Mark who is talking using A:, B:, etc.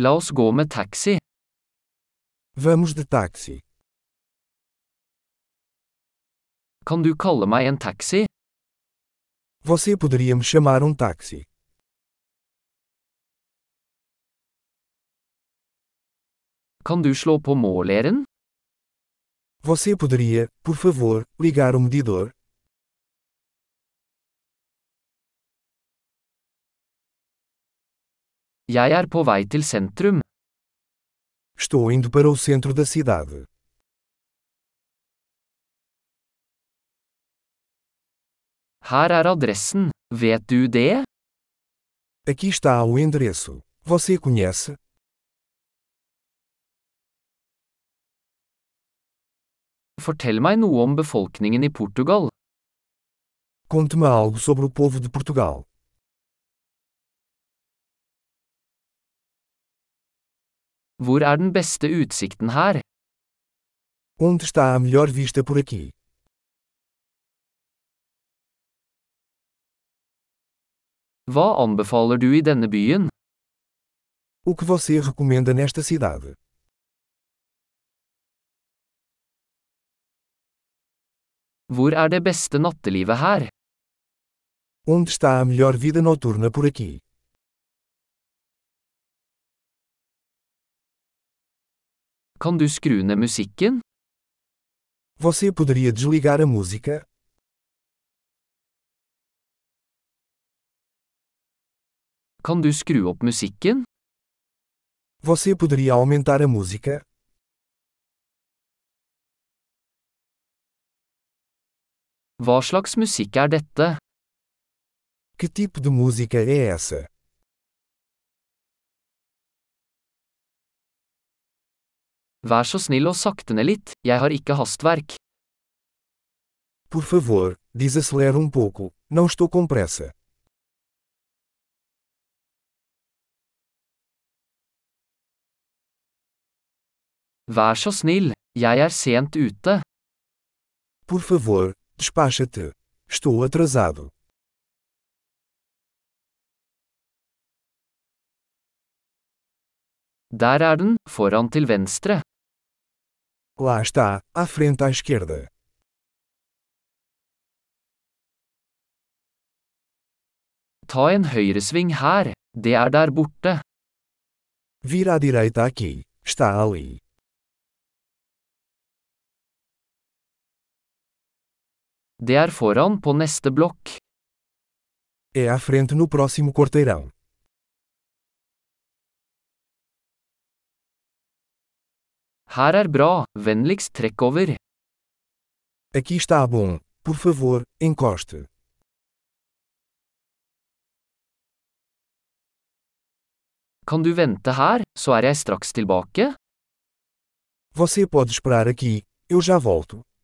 A: La oss gå med taxi.
B: Vamos de táxi.
A: Kan du kalle meg en taxi?
B: Você poderia me chamar um táxi?
A: Kan du slå på måleren?
B: Você poderia, por favor, ligar o medidor?
A: Jeg er på vei til sentrum.
B: Estou indo para o centro da cidade.
A: Her er adressen. Vet du det?
B: Aqui está o endereço. Você conhece?
A: Fortell meg noe om befolkningen i Portugal.
B: Conte-me algo sobre o povo de Portugal.
A: Hvor er den beste utsikten her?
B: Onde está a melhor vista por aqui?
A: Hva anbefaler du i denne byen?
B: O que você recomenda nesta cidade?
A: Hvor er det beste nattelivet her?
B: Onde está a melhor vida noturna por aqui?
A: Kan du skru ned musikken?
B: Você poderia desligar a música?
A: Kan du skru opp musikken?
B: Você poderia aumentar a música?
A: Hva slags musikk er dette?
B: Que tipo de música é essa?
A: Vær så snill og sakte ned litt, jeg har ikke hastverk.
B: Por favor, desacelera um pouco. Não estou com pressa.
A: Vær så snill, jeg er sent ute.
B: Por favor, despacha-te. Estou atrasado.
A: Der er den, foran til venstre.
B: Lá está, à frente à esquerda.
A: Ta en høyresving her, det er der borte.
B: Vira à direita aqui. Está ali.
A: Det er foran på neste blokk.
B: É à frente no próximo quarteirão.
A: Her er bra, vennligst trekk over.
B: Aqui está bom. Por favor, encoste.
A: Kan du vente her, så er jeg straks tilbake?
B: Você pode esperar aqui. Eu já volto.